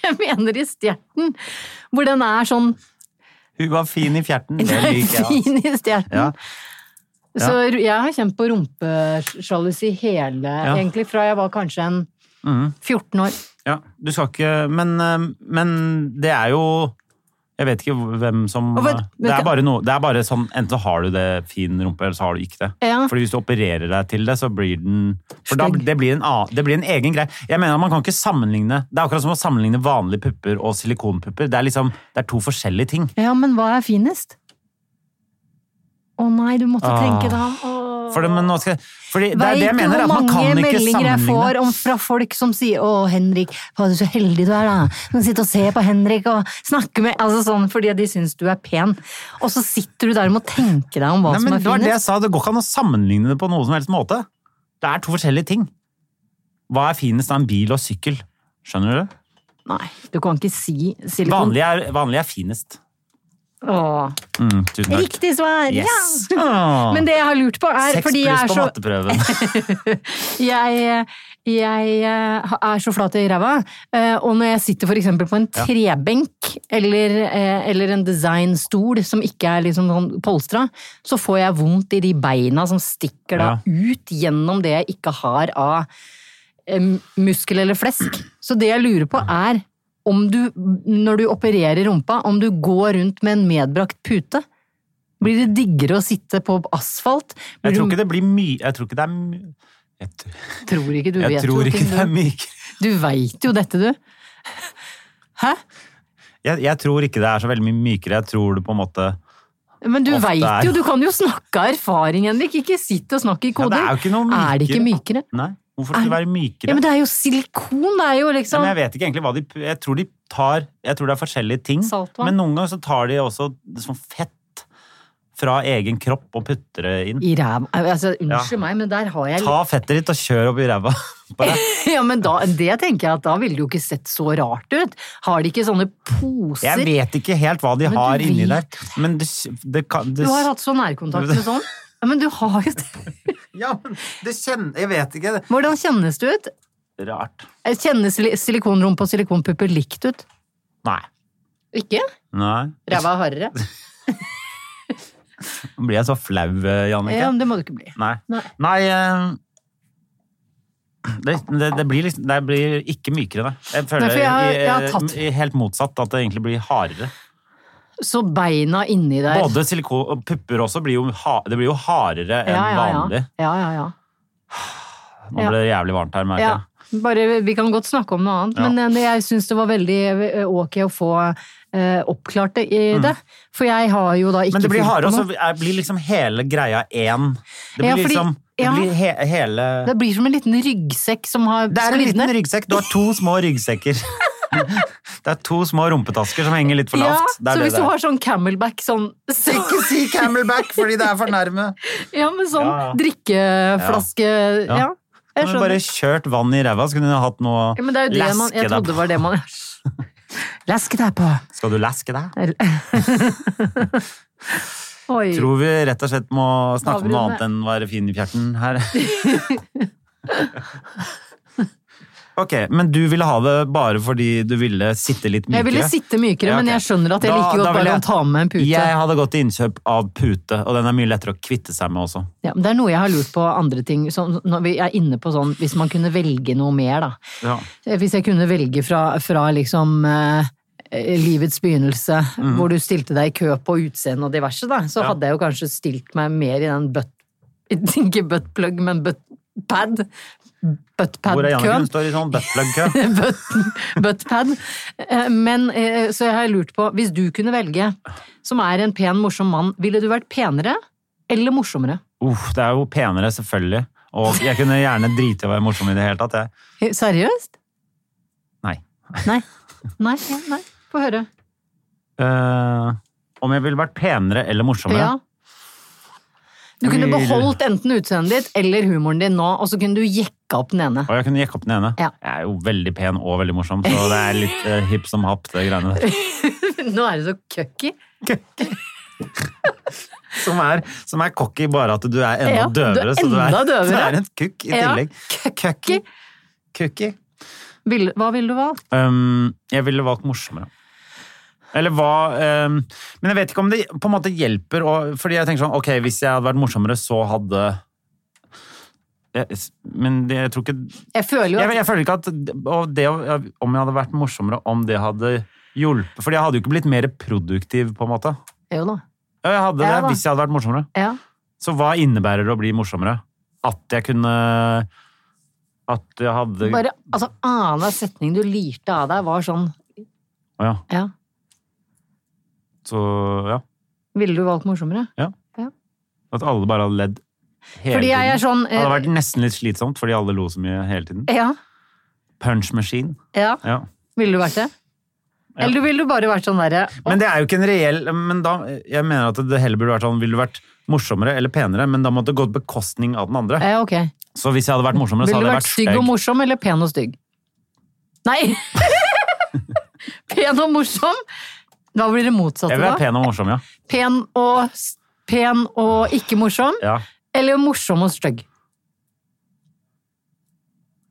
jeg mener i stjerten. Hvor den er sånn
Hun var fin i (laughs) fjerten. Det
den er
liker jeg. altså.
fin i stjerten.
Ja.
Så ru- jeg har kjent på rumpesjalusi hele, egentlig, fra jeg var kanskje en
Mhm.
14 år.
Ja, du skal ikke Men, eh, men det er jo Jeg vet ikke hvem som
Og vet- vet
det, er
jeg-
bare noe, det er bare sånn Enten så har du det fin rumpe, eller så har du ikke det.
Ja.
Fordi hvis du opererer deg til det, så blir den For da,
Stygg.
det, blir en, annen- det blir en egen greie. Jeg mener at Man kan ikke sammenligne Det er akkurat som å sammenligne vanlige pupper og silikonpupper. Det er liksom, det er to forskjellige ting.
Ja, men hva er finest? Å nei, du måtte
Ah.
tenke da. Åh.
For det, men nå skal, fordi det
Vet
er det jeg
du
mener,
hvor
at man
mange
kan ikke
meldinger jeg får
sammenligne.
om, fra folk som sier 'Å, Henrik, fader, så heldig du er', da. Du sitter og ser på Henrik og snakker med Altså sånn fordi de syns du er pen. Og så sitter du der og må tenke deg om hva
Nei,
som
men
er
det var det jeg
finest.
sa, det går ikke an å sammenligne det på noen som helst måte. Det er to forskjellige ting. Hva er finest av en bil og sykkel? Skjønner du?
Nei, du kan ikke si silikon.
Vanlig er, vanlig er finest.
Åh.
Mm, tusen takk.
Riktig svar!
Yes.
Ja!
Åh.
Men det jeg har lurt på, er
Seks
fordi jeg er
pluss på
så
matteprøven.
jeg, jeg eh, er så flat i ræva, eh, og når jeg sitter for eksempel på en trebenk, eller, eh, eller en designstol som ikke er liksom sånn polstra, så får jeg vondt i de beina som stikker da
Ja.
ut gjennom det jeg ikke har av eh, muskel eller flesk. Så det jeg lurer på er, om du, når du opererer rumpa, om du går rundt med en medbrakt pute, blir det diggere å sitte på asfalt?
Jeg tror ikke det blir mye Jeg tror ikke det er my- Jeg, tr-
Tror ikke du
jeg
vet jo
tror ikke
ting,
det
du.
er mykere.
Du veit jo dette, du. Hæ?
Jeg, jeg tror ikke det er så veldig mye mykere. Jeg tror det på en måte
Men du
Ofte
veit
er-
jo, du kan jo snakke av erfaring, Henrik. Ikke sitt og snakk i
Ja,
koder.
Det er jo ikke noe mykere.
Er det ikke mykere?
Nei. Hvorfor skulle det være mykere?
Ja, men det er jo silikon, det er jo
Ja,
liksom
men jeg vet ikke egentlig hva de Jeg tror de tar Jeg tror det er forskjellige ting.
Saltvann.
Men noen ganger så tar de også sånn fett fra egen kropp og putter det inn.
I ræva altså, Unnskyld
Ja.
meg, men der har jeg
Ta fettet ditt og kjør opp i
(laughs)
ræva. på deg.
Ja, men da, det tenker jeg at da ville det jo ikke sett så rart ut. Har de ikke sånne
Jeg
poser?
vet ikke helt hva de
Men du
har inni der.
vet
Men det, det kan det,
Du har hatt så
(laughs)
nærkontakt med sånn. Ja, men du har jo det.
Ja, men det kjenner Jeg vet ikke. Det
Hvordan kjennes det ut?
er rart.
Kjennes sili- silikonrumpe og silikonpupper likt ut?
Nei.
Ikke?
Nei.
Ræva er hardere?
Nå blir jeg så flau, eh, Jannicke.
Ja, men det må du ikke bli.
Nei.
Nei.
Nei eh, det, det, det, blir liksom, det blir ikke mykere, det. Jeg føler
Nei, for jeg har-
i- eh,
jeg har tatt-
i- helt motsatt, at det egentlig blir hardere.
Så beina inni der
Både silikon og pupper også blir jo, ha, det blir jo hardere enn vanlig.
Ja, ja, ja.
Nå ble det jævlig varmt her, merker
ja.
jeg.
Bare, vi kan godt snakke om noe annet,
Ja.
men eh, jeg syns det var veldig eh, ok å få eh, oppklart det i det. For jeg har jo da ikke
Mm. Men det blir
fylt på
hardere, og så
noe.
er- blir liksom hele greia én. Det blir
Ja, fordi-
liksom det
ja.
blir he, hele
Det blir som en liten ryggsekk som har
Det er en
sklidd
liten
ned.
ryggsekk. Du har to små
(laughs)
ryggsekker. Det er to små rumpetasker som henger litt for
Ja,
lavt. Det
så
er det
hvis
det
du
er.
har sånn camelback, sånn sekk
(laughs) si camelback fordi det er for nærme.
Ja, men sånn
Ja, ja.
drikkeflaske
Ja.
Ja, jeg
Men bare
skjønner.
kjørt vann i ræva, så kunne du hatt noe
Ja, men det er jo det
Laske
man Jeg
deg
trodde det var
(laughs)
det man Laske deg på!
på. Skal du laske deg?
Oi.
Tror vi rett og slett må snakke om noe
Avrunde.
annet enn være fin i fjerten her.
(laughs)
Ok, men du ville ha det bare fordi du ville sitte litt mykere?
Jeg ville sitte mykere,
Ja, ok.
men jeg skjønner at jeg
Da-
liker
da
godt
vil
bare
jeg-
å ta med en pute.
Jeg hadde gått til innkjøp av pute, og den er mye lettere å kvitte seg med også.
Ja, men det er noe jeg har lurt på andre ting, sånn, når vi er inne på sånn, hvis man kunne velge noe mer da. Eh,
Ja.
Hvis jeg kunne velge fra, fra liksom eh, livets begynnelse, hvor du stilte deg i kø på utseende og diverse da,
Mm.
så
Ja.
hadde jeg jo kanskje stilt meg mer i den butt, (laughs) ikke buttplug, men buttpad,
Hvor er Jannicke?
buttpad-køen.
Hun står i sånn buttplug-kø.
(laughs) Butt- Buttpad. Eh, Men eh, så jeg har lurt på, hvis du kunne velge, som er en pen, morsom mann, ville du vært penere eller morsommere?
Uff, det er jo penere, selvfølgelig. Og jeg kunne gjerne drite i å være morsom i det hele tatt. Jeg.
He- Eh, Seriøst?
Nei.
Nei. Nei, ja, nei. Få høre.
Eh, om jeg ville vært penere eller morsommere?
Ja. Du kunne beholdt enten utseendet ditt eller humoren din nå, og så kunne du jekka opp den ene.
Og
(laughs)
jeg kunne jekke opp den ene.
Ja.
Jeg er jo veldig pen og veldig morsom, så det er litt eh, hipp som
(laughs)
happ, det greiene der.
Nå er du så køkki.
Så som er, som er cocky, bare at du er enda
Ja, du er
døvere. så du er,
enda døvere.
(laughs) du er en kukk i
Ja.
tillegg. Cucky. Cucky.
Vil, hva ville du valgt?
Um, jeg ville valgt morsommere. Eller hva um, Men jeg vet ikke om det på en måte hjelper. Og, fordi jeg tenker sånn, ok, Hvis jeg hadde vært morsommere, så hadde jeg, Men det, jeg tror ikke
Jeg føler jo
jeg,
at
jeg føler ikke at og det, å- Om jeg hadde vært morsommere, om det hadde hjulpet Fordi jeg hadde jo ikke blitt mer produktiv, på en måte.
Jo da.
Ja, Jeg hadde det
Ja da.
hvis jeg hadde vært morsommere.
Ja.
Så hva innebærer det å bli morsommere? At jeg kunne At jeg hadde
Bare altså, annenhver setning du lirte av deg, var sånn
Ja.
Ja.
Så ja.
Ville du valgt morsommere?
At alle bare hadde ledd hele
Fordi jeg er
tiden.
sånn
Det hadde
eh,
vært nesten litt slitsomt, fordi alle lo så mye hele tiden.
Ja.
Punch machine.
ja.
Ja.
Ville du vært det? Eller ville du bare vært sånn derre
Men det er jo ikke en reell men da, Jeg mener at det heller burde vært sånn Ville du vært morsommere eller penere, men da måtte det gått bekostning av den andre.
eh, Ok.
Så hvis jeg hadde vært morsommere, så
Ville
hadde
du
jeg
vært
vært
stygg og morsom eller pen og stygg? Nei! (laughs) pen og morsom? Da blir det motsatte,
Jeg vil
da.
være pen og morsom, ja.
Pen og, s- pen og ikke morsom?
ja.
Eller morsom og stygg?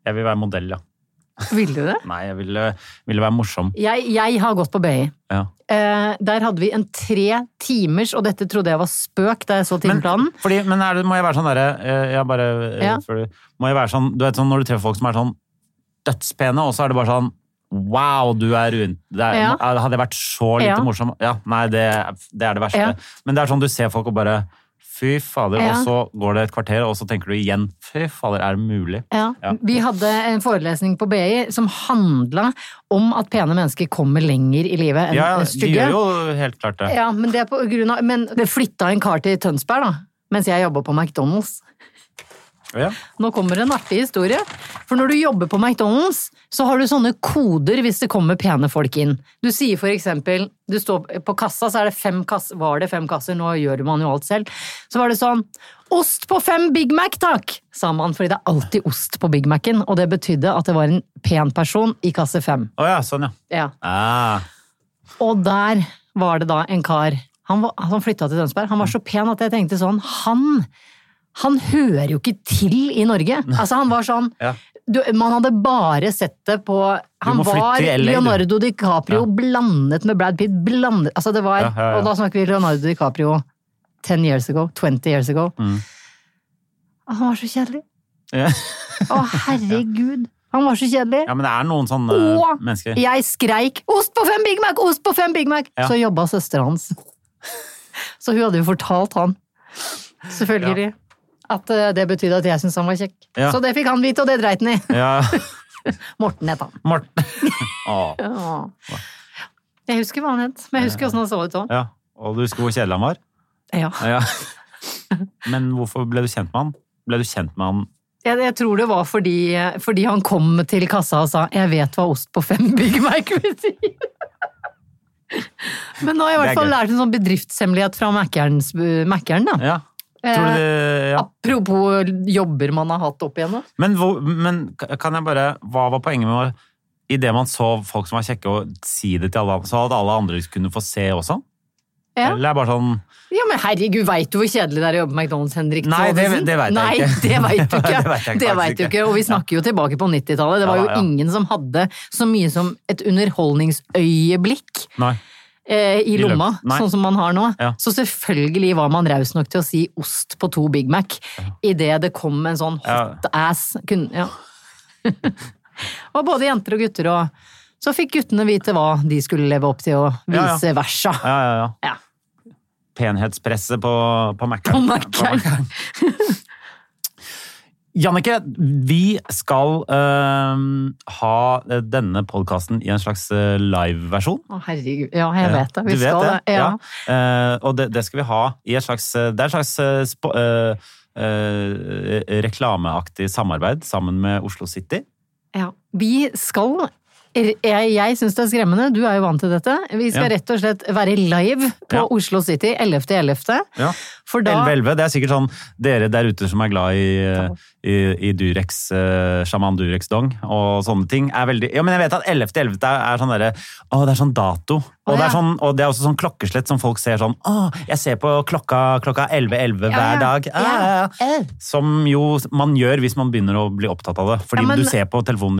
Jeg vil være modell, ja.
Ville du det?
Nei, jeg ville, ville være morsom.
Jeg, jeg har gått på BI.
Ja.
Eh, der hadde vi en tre timers, og dette trodde jeg var spøk da jeg så timeplanen.
Fordi, men er det, må jeg være sånn derre eh, Jeg bare eh,
Ja.
fordi, Må jeg være sånn Du vet sånn når du treffer folk som er sånn dødspene, og så er det bare sånn Wow, du er rundt. Det er, eh,
Ja.
Hadde jeg vært så lite
Ja.
morsom Ja, nei, det, er- det er det verste.
Ja.
Men det er sånn du ser folk og bare Fy fader,
Ja.
og så går det et kvarter, og så tenker du igjen Fy fader, er det mulig?
Ja.
Ja.
Vi hadde en forelesning på BI som handla om at pene mennesker kommer lenger i livet enn
Ja, ja, de
stygge.
gjør jo helt klart det.
Ja, men det er på grunn av Men det flytta en kar til Tønsberg, da. Mens jeg jobba på McDonald's.
Ja.
Nå kommer en artig historie. For når du jobber på McDonald's, så har du sånne koder hvis det kommer pene folk inn. Du sier for eksempel du står På kassa så er det fem kasser, var det fem kasser, nå gjør man jo alt selv. Så var det sånn Ost på fem Big Mac, takk! sa man, fordi det er alltid ost på Big Mac-en. Og det betydde at det var en pen person i kasse fem.
Å ja, sånn, ja.
Ja.
Ah,
Og der var det da en kar Han, var- han flytta til Tønsberg. Han var så pen at jeg tenkte sånn Han, han hører jo ikke til i Norge. Altså, han var sånn
Ja.
du, Man hadde bare sett det på Han
må flytte
var
til LA, du.
Leonardo DiCaprio
Ja.
blandet med Brad Pitt. Blandet, altså det var,
Ja, ja, ja.
Og da snakker vi Leonardo DiCaprio 10 years ago. 20 years ago.
Mm.
Han var så kjedelig.
ja.
Å, herregud. Han var så kjedelig.
ja, men det er noen sånne
Og
mennesker.
jeg skreik 'ost på fem Big Mac', ost på fem Big Mac!
Ja.
Så jobba søstera hans. (laughs) Så hun hadde jo fortalt han, selvfølgelig, at eh, det betydde at jeg syntes han var kjekk.
Ja.
Så det fikk han vite, og det dreit han i. (laughs)
Ja,
Morten het han.
Morten. Å,
Åh. Jeg husker hva han het, men jeg husker åssen han så ut òg.
ja. Og du husker hvor kjedelig han var?
Ja.
Ja. Men hvorfor ble du kjent med han? Ble du kjent med han?
Jeg, jeg tror det var fordi, fordi han kom til kassa og sa 'jeg vet hva ost på fem Big Mac (laughs) betyr'. Men nå har
Det
jeg i
er
hvert fall
gøy.
lært en sånn bedriftshemmelighet fra Mækkern's- Mækkern, da.
Ja.
Eh,
Tror du det, ja.
Apropos jobber man har hatt opp igjennom.
Men, hvor, men kan jeg bare Hva var poenget med å Idet man så folk som var kjekke, og si det til alle andre, så at alle andre kunne få se også?
Ja.
Eller er det bare sånn
Ja, men herregud, veit du hvor kjedelig det er å jobbe på McDonald's, Henrik?
Nei, det-
Thodesen?
det vet jeg
Nei,
ikke.
Det vet
(laughs)
du
Det vet
ikke.
jeg
Det
faktisk
vet du
ikke.
ikke. Og vi snakker jo tilbake på 90-tallet. Det var
Ja,
jo
ja.
ingen som hadde så mye som et underholdningsøyeblikk
Nei.
eh, i
I løpet.
lomma,
Nei.
sånn som man har nå.
Ja.
Så selvfølgelig var man raus nok til å si ost på to Big Mac idet det kom en sånn
Ja.
hot ass kun, ja. (laughs) Og både jenter og gutter og Så fikk guttene vite hva de skulle leve opp til, og
Ja, ja.
vice versa.
Ja, ja, ja.
Ja.
Penhetspresset på, på Mac-en.
På Mac-en.
På Mac-en. Jannicke, vi skal øhm, ha eh, denne podkasten i en slags øh, liveversjon.
Å, herregud. Ja, jeg vet det. Vi
du vet
skal det.
det?
Ja.
Eh, og det, det skal vi ha i et slags Det er et slags eh, spo, eh, eh, reklameaktig samarbeid sammen med Oslo City.
Ja. Vi skal Jeg, jeg syns det er skremmende. Du er jo vant til dette. Vi skal
Ja.
rett og slett være live på
Ja.
Oslo City 11.11.
Ja.
For da
11-11, det er sikkert sånn dere der ute som er glad i, eh, i, i Durex, eh, sjaman Durex Dong og sånne ting, er veldig Ja, men jeg vet at 11.11 er, er sånn derre Å, det er sånn dato. Og,
Å,
det
ja.
er sånn, og det er også sånn klokkeslett som folk ser sånn Å, jeg ser på klokka klokka 11.11 hver
ja.
dag. Ah,
Ja.
ja, ja.
Eh.
Som jo man gjør hvis man begynner å bli opptatt av det. Fordi
Ja, men-
du ser på telefonen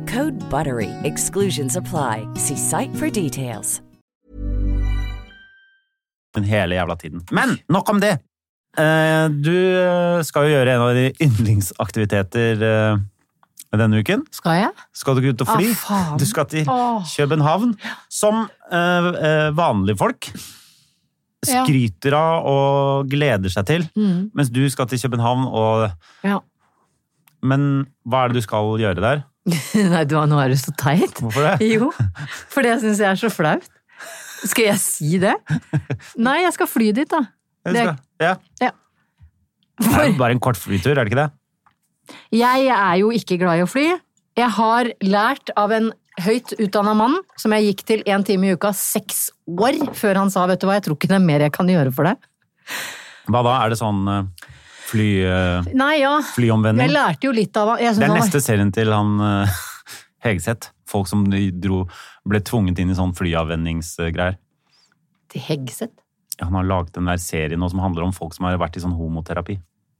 Code BUTTERY. Exclusions apply. See site for details.
din hele jævla tiden. Men nok om det! Eh, Du skal jo gjøre en av dine yndlingsaktiviteter eh, denne uken.
skal jeg.
skal du ikke ut og fly.
Ah, faen.
du skal til
Åh.
København. Som eh, eh, vanlige folk
Ja. Mm.
skryter av og gleder seg til. Mens du skal til København og
Ja. (laughs)
Men hva er det du skal gjøre der?
Nei, du, nå er du så teit.
Hvorfor det?
(laughs) Jo, for det syns jeg er så flaut. Skal jeg si
(laughs)
det? Nei, jeg skal fly dit, da.
Jeg
Det-
skal- Ja.
Ja.
Det er jo
For
bare en kort flytur, er det ikke det?
jeg er jo ikke glad i å fly. Jeg har lært av en høyt utdanna mann som jeg gikk til én time i uka seks år før han sa 'vet du hva, jeg tror ikke det er mer jeg kan gjøre for deg'.
Hva da? Er det sånn eh, fly, eh,
Nei, ja. Jeg
flyomvending?
lærte jo litt av han. Jeg
Mm.
synes
Det er
han var-
neste serien til han eh, (laughs) Hegseth. Folk som dro, ble tvunget inn i sånn flyavvenningsgreier.
Hegseth.
han har laget den der serien nå som handler om folk som har vært i sånn homoterapi.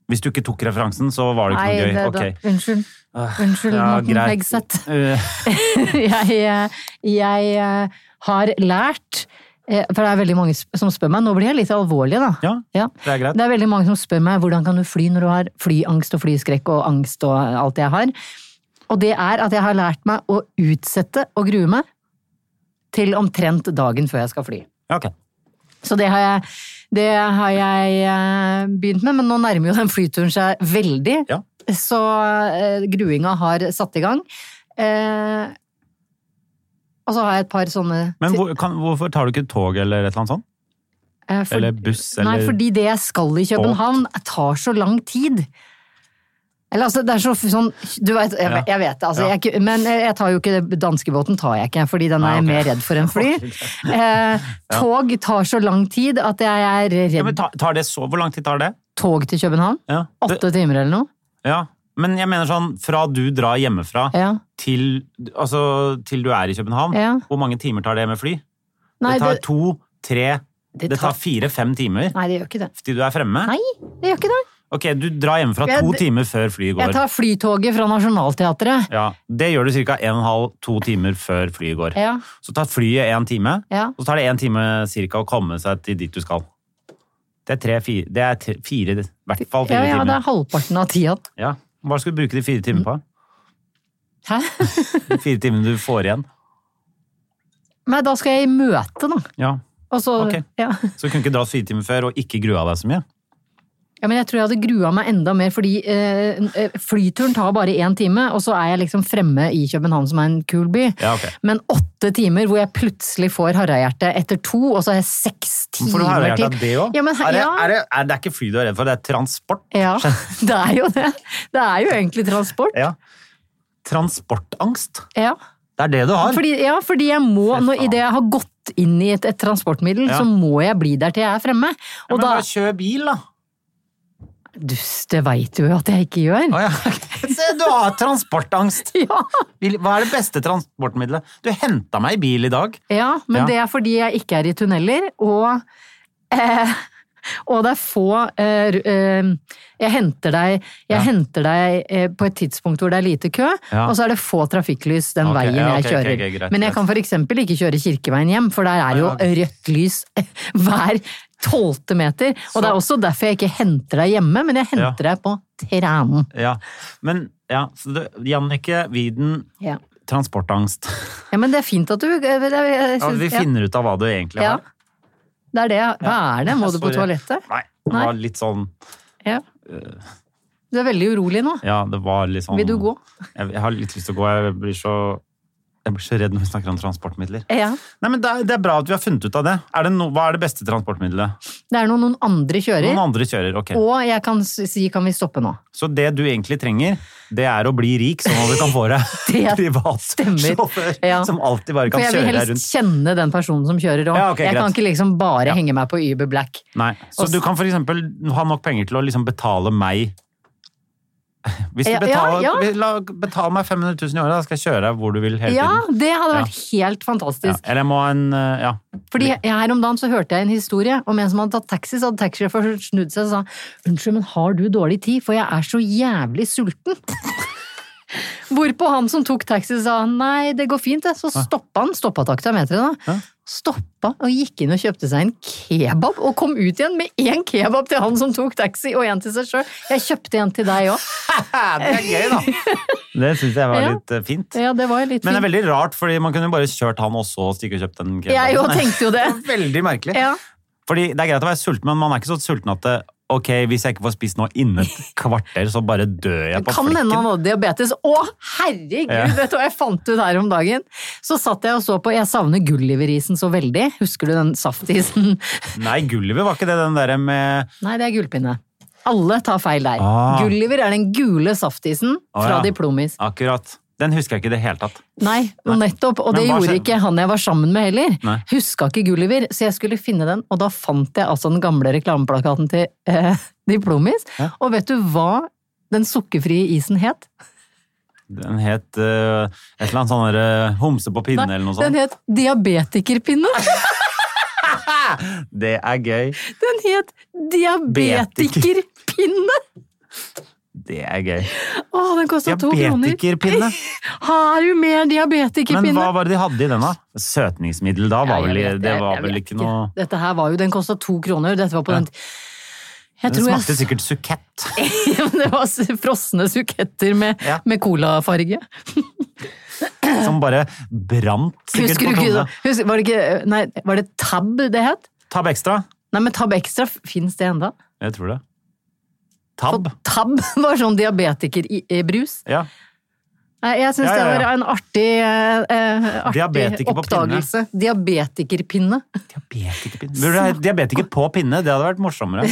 Hvis du ikke tok referansen, så var det
Nei,
ikke
det,
noe
da.
gøy. Ok. Ah,
Unnskyld. Unnskyld,
ja,
Morten
greit.
Hegseth.
Eh,
(laughs) jeg, eh, jeg eh, har lært eh, For det er veldig mange sp- som spør meg Nå blir jeg litt alvorlig, da.
Ja, det er greit.
Det er veldig mange som spør meg hvordan kan du fly når du har flyangst og flyskrekk og angst og alt det jeg har. Og det er at jeg har lært meg å utsette og grue meg til omtrent dagen før jeg skal fly.
ja, ok.
Så det har jeg, det har jeg eh, begynt med, men nå nærmer jo den flyturen seg veldig.
Ja.
Så eh, gruinga har satt i gang. Eh, og så har jeg et par sånne
Men hvor, kan, hvorfor tar du ikke tog eller et eller annet sånt?
eh, for-
Eller buss eller
Nei, fordi det jeg skal i København tar så lang tid. Eller altså, det er så f- sånn Du vet, jeg,
Ja.
jeg vet det. Altså,
Ja.
jeg er ikke- men jeg jeg tar jo ikke danskebåten, tar jeg ikke, fordi den
Nei,
er jeg
ok.
mer redd for enn
(laughs)
fly. Eh, tog tar så lang tid at jeg er redd
Ja, men tar, tar det så, hvor lang tid tar det?
tog til København.
Ja. Det,
Åtte timer eller noe.
ja. Men jeg mener sånn, fra du drar hjemmefra
Ja.
til, altså, til du er i København,
Ja.
hvor mange timer tar det med fly?
Nei,
det tar
det-
to, tre,
Det
det,
tar-
tar fire-fem timer
Nei, det gjør ikke det.
til du er fremme.
Nei, det gjør ikke det.
Ok, du drar hjemmefra
Jeg-
to timer før flyet går.
Jeg tar flytoget fra Nationaltheatret.
Ja, Det gjør du ca. 1,5-2 timer før flyet går.
Ja.
Så tar flyet én time,
Ja.
og så tar det én time cirka å komme seg til dit du skal. Det er tre, fire, det er tre, fire i hvert fall
Ja,
fire
ja, det er
timer.
halvparten av tida.
Ja. Hva skal du bruke de fire timene på?
Hæ? (laughs)
De fire timene du får igjen.
Men da skal jeg i møte, da.
Ja.
Og så,
Ok.
ja.
Så du kunne ikke dratt fire timer før og ikke grua deg så mye.
Ja, men jeg tror jeg hadde grua meg enda mer, fordi eh, eh, flyturen tar bare én time, og så er jeg liksom fremme i København, som er en kul by.
Ja, ok.
Men åtte timer hvor jeg plutselig får harrahjerte etter to, og så har jeg seks timer
For du har jo hørt
til.
at det òg.
Ja, men,
er, det-
ja,
er, det- er det ikke fly du er redd for, det er transport. (laughs)
ja, det er jo det. Det er jo egentlig transport.
Ja. Transportangst.
Ja,
Det er det du har.
fordi, ja, fordi jeg må, når, i det jeg har gått inn i et, et transportmiddel,
Ja.
så må jeg bli der til jeg er fremme.
ja,
Og
men
da,
bare kjør bil, da.
Dust, det veit du jo at jeg ikke gjør.
Å ja. (laughs) Se, du har transportangst!
Ja.
Vil- Hva er det beste transportmiddelet? Du henta meg i bil i dag.
Ja, men
Ja.
det er fordi jeg ikke er i tunneler, og, eh, (laughs) og det er få eh, ru- eh, Jeg henter deg, jeg henter deg eh, på et tidspunkt hvor det er lite kø,
Ja.
og så er det få trafikklys den
Ok,
veien
ja,
jeg
ok, ok,
kjører.
ok, greit,
men
greit.
jeg kan f.eks. ikke kjøre Kirkeveien hjem, for der er jo
Ja, ok.
rødt lys (laughs) hver tolvte meter. Og det er også derfor jeg ikke henter deg hjemme, men jeg henter deg på trenen.
Ja. Men ja, så det, Jannicke Widen,
Ja.
transportangst.
ja, men det er fint at du eh, det er- jeg
Ja,
synes-
vi
ja.
finner ut av hva du egentlig
Ja.
har.
Det er det. Hva er det?
Ja,
Må du på
sorry.
toalettet?
Nei, det
Nei.
var litt sånn
Ja. Eh. Du er veldig urolig nå.
Ja, det var litt sånn
Vil du gå?
Jeg, jeg har litt lyst til å gå. Jeg blir så jeg blir så redd når vi snakker om transportmidler.
Ja.
Nei, men det er, det er bra at vi har funnet ut av det. Er det no, hva er det beste transportmiddelet?
Det er noe noen andre kjører,
Noen andre kjører. ok.
og jeg kan s- si 'kan vi stoppe nå'?
Så det du egentlig trenger, det er å bli rik, sånn at du kan få deg (laughs)
(laughs) Det
privat
stemmer.
sjåfør
Ja.
som alltid bare
For
kan
jeg vil
kjøre deg rundt.
helst kjenne den personen som kjører òg.
Ja, ok,
jeg
greit.
kan ikke liksom bare henge meg på Uber Black.
Nei. Så
Og s-
du kan for eksempel ha nok penger til å liksom betale meg (laughs) Hvis du
Ja, ja,
betaler
ja.
La, betal meg 500 000 i året, da skal jeg kjøre deg hvor du vil hele
Ja,
tiden.
det hadde vært helt
Ja.
fantastisk.
Eller jeg må ha en eh, Ja.
Fordi her om dagen så hørte jeg en historie om en som hadde tatt taxi, så hadde taxisjåføren snudd seg og sa 'unnskyld, men har du dårlig tid, for jeg er så jævlig sulten'. (laughs) Hvorpå han som tok taxi sa 'nei, det går fint', det. Så stoppa han, stoppa taktameteret da. Stoppa og gikk inn og kjøpte seg en kebab, og kom ut igjen med én kebab til han som tok taxi, og en til seg sjøl. Jeg kjøpte en til deg òg.
Det er gøy, da! (laughs) Det syns jeg var
Ja.
litt eh, fint.
Ja, det var jo litt
Men det er
fint.
veldig rart, fordi man kunne jo bare kjørt han også og stikke og kjøpt den kebaben.
Jeg jo tenkte jo det.
(laughs) Veldig merkelig.
Ja.
Fordi det er greit å være sulten, men man er ikke så sulten at det, ok, hvis jeg ikke får spist nå innen et
(laughs)
kvarter, så bare dør jeg på
kan
flekken.
hende han hadde diabetes. Å, herregud!
Ja.
Vet du hva jeg fant ut her om dagen? Så satt jeg og så på Jeg savner Gulliverisen så veldig. Husker du den saftisen? (laughs)
Nei, Gulliver var ikke det den der med...
Nei, det er gullpinne. Alle tar feil der.
Ah.
Gulliver er den gule
Å,
saftisen
ja.
fra Diplomis.
Akkurat. Den husker jeg ikke i det hele tatt.
Nei, og nettopp. Og
Men
det
hva
gjorde
skjedde?
ikke han jeg var sammen med heller.
Nei.
Huska ikke Gulliver, så jeg skulle finne den, og da fant jeg altså den gamle reklameplakaten til eh, Diplomis. Og vet du hva den sukkerfrie isen het?
Den het eh, et eller annet sånn der eh, homse på pinne eller noe sånt.
Den het
(laughs)
diabetikerpinne!
Det er gøy.
Den het diabetikerpinne!
Det er gøy.
Å, den kosta to kroner.
Diabetikerpinne.
Har du
Men
mer
hva
diabetikerpinne?
var det de hadde i den da? Søtningsmiddel da var
Ja,
vel,
jeg vet
det
jeg-
var
jeg
vel
vet
ikke noe...
Dette her var jo Den kosta to kroner. Dette var på den jeg
Den
tror (laughs)
smakte
jeg,
sikkert sukett.
det var s- frosne suketter med,
Ja.
med colafarge.
som bare brant sikkert
Husker du
på
ikke
tone.
husker, Var det ikke Nei, var det Tab det het?
Tab ekstra.
Nei, men Tab Extra, fins det enda?
Jeg tror det. Tab.
For Tab (laughs) var sånn diabetikerbrus.
Ja.
Nei, jeg syns
Ja, ja,
det
ja.
var en artig, eh, eh, artig
Diabetiker på
oppdagelse. Diabetikerpinne. (laughs)
Diabetikerpinne. Burde det hett diabetiker på pinne? Det hadde vært
(laughs)
morsommere.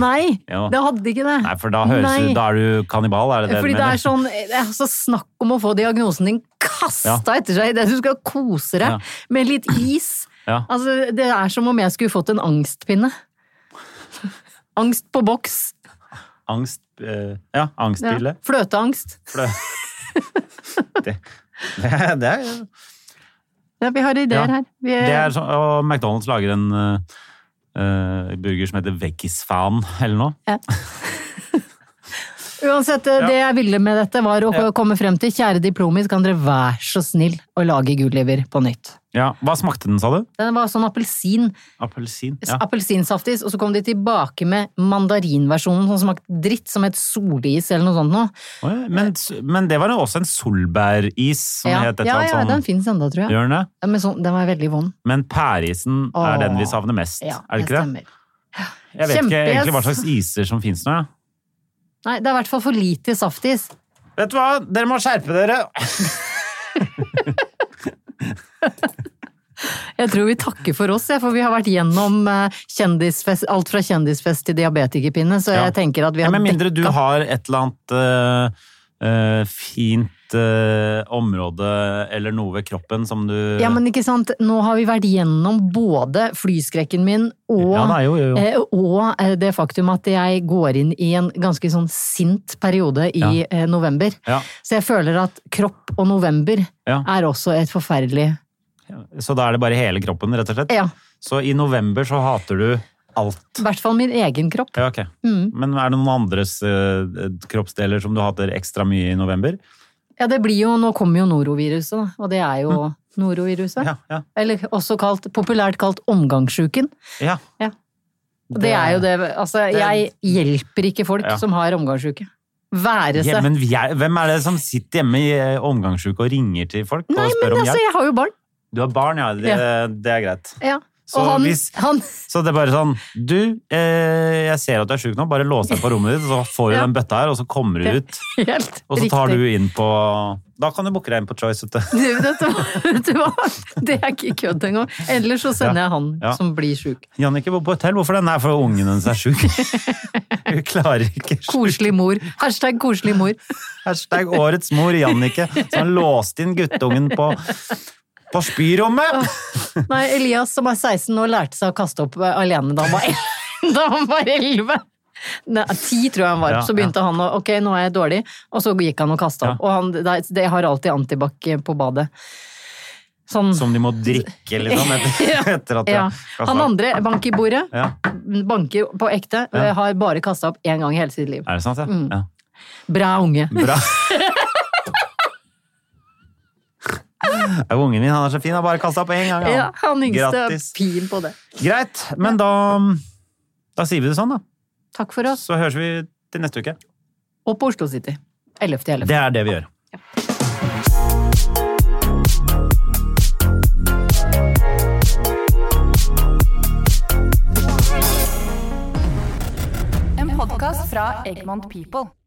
Nei,
Jo.
det hadde ikke det.
Nei, for da høres
Nei.
du Da er du kannibal, er det det
Fordi
du
det
mener?
er sånn, det er altså snakk om å få diagnosen din kasta etter seg idet du skal kose deg
Ja.
med litt is.
Ja.
Altså, det er som om jeg skulle fått en angstpinne. Angst på boks.
Angst eh, Ja,
Ja.
angstpille.
Fløteangst.
For det det, det, (laughs) det er jo
Ja, vi har
ja.
ideer her. Vi
Det er sånn, Og McDonald's lager en eh, eh, burger som heter Veggisfan, eller noe.
Uansett, eh, det jeg ville med dette var å komme frem til, kjære diplomis, kan dere være så snill å lage gulliver på nytt.
Ja, Hva smakte den, sa du?
Den var sånn appelsin,
Appelsin? Ja.
appelsinsaftis, og så kom de tilbake med mandarinversjonen som smakte dritt, som het solis eller noe sånt noe.
Å, ja. Men, men det var jo også en solbæris som
ja,
het et
ja,
eller annet
ja,
sånn.
den finnes enda, tror jeg.
Gjør den det?
Ja, men sånn, den var veldig vond.
Men pæreisen
Åh.
er den vi savner mest,
Ja,
er det ikke det?
stemmer.
Jeg vet ikke
Kjempe-
egentlig hva slags iser som finnes nå. jeg.
Nei, det er i hvert fall for lite saftis.
Vet du hva, dere må skjerpe dere!
Jeg tror vi takker for oss, jeg, for vi har vært gjennom eh, kjendisfest, alt fra kjendisfest til diabetikerpinne, så
Ja.
jeg tenker at vi
Ja,
har
med mindre du har et eller annet øh, øh, eh, fint eh, område eller noe ved kroppen som du
Ja, men ikke sant, nå har vi vært gjennom både flyskrekken min og,
Ja, da, jo, jo, jo.
eh, og eh, det faktum at jeg går inn i en ganske sånn sint periode i
Ja.
eh, november.
Ja.
Så jeg føler at kropp og november
Ja.
er også et forferdelig
Så da er det bare hele kroppen, rett og slett?
Ja,
Så i november så hater du alt.
i hvert fall min egen kropp.
Ja, ok.
Mm.
Men er det noen andres eh, kroppsdeler som du hater ekstra mye i november?
Ja, det blir jo, nå kommer jo noroviruset, da, og det er jo noroviruset.
Mm. Ja, ja.
Eller også kalt, populært kalt omgangssjuken.
ja.
Ja. Og det er jo det, altså jeg hjelper ikke folk
Ja.
som har omgangssjuke. Være
Ja,
seg.
men vi er, hvem er det som sitter hjemme i eh, omgangsuke og ringer til folk
Nei,
og
men
spør om
altså,
hjelp?
jeg har jo barn.
Du har barn, ja. Det, det er greit.
Ja.
Så
og han,
hvis-
han (laughs)
Så det er bare sånn Du, eh, jeg ser at du er sjuk nå. Bare lås deg på rommet ditt, så får du
Ja.
den bøtta her, og så kommer du ut.
Helt
Og så tar du inn på Da kan du booke deg inn på Choice. Vet du.
Du, vet du hva? (laughs) Vet du hva? Det er ikke kødd engang. Ellers så sender jeg han
Ja.
som blir sjuk.
Jannicke bor på hotell. Hvorfor det? Nei, for ungen hennes er
(laughs)
sjuk. Hun klarer ikke
Koselig mor. Hashtag koselig mor.
Hashtag årets mor, Jannicke, som har låst inn guttungen på, på spyrommet!
Nei, Elias som er 16 år lærte seg å kaste opp eh, alene da han var, (laughs) da han var 11. Nei, 10 tror jeg han var.
Ja,
så begynte han å Ok, nå er jeg dårlig. Og så gikk han og kasta opp. Og han, det- det har alltid antibac på badet. Sånn.
Som de må drikke,
(laughs)
liksom, etter, etter at de
Ja.
har kastet
Han
opp.
andre bank i bordet.
Ja.
Banker på ekte.
Ja.
Har bare kasta opp én gang i hele sitt liv.
Er det sant, ja?
Mm.
ja.
Bra unge.
Bra. Ja, Ungen min han er så fin. Han har bare kasta opp én gang. han.
Ja, han yngste er
Grattis.
fin på det.
Greit, men da Da sier vi det sånn, da.
Takk for oss.
Så høres vi til neste uke.
Og på Oslo City. 11. til 11.
Det er det vi gjør.
En podkast fra Egmont People.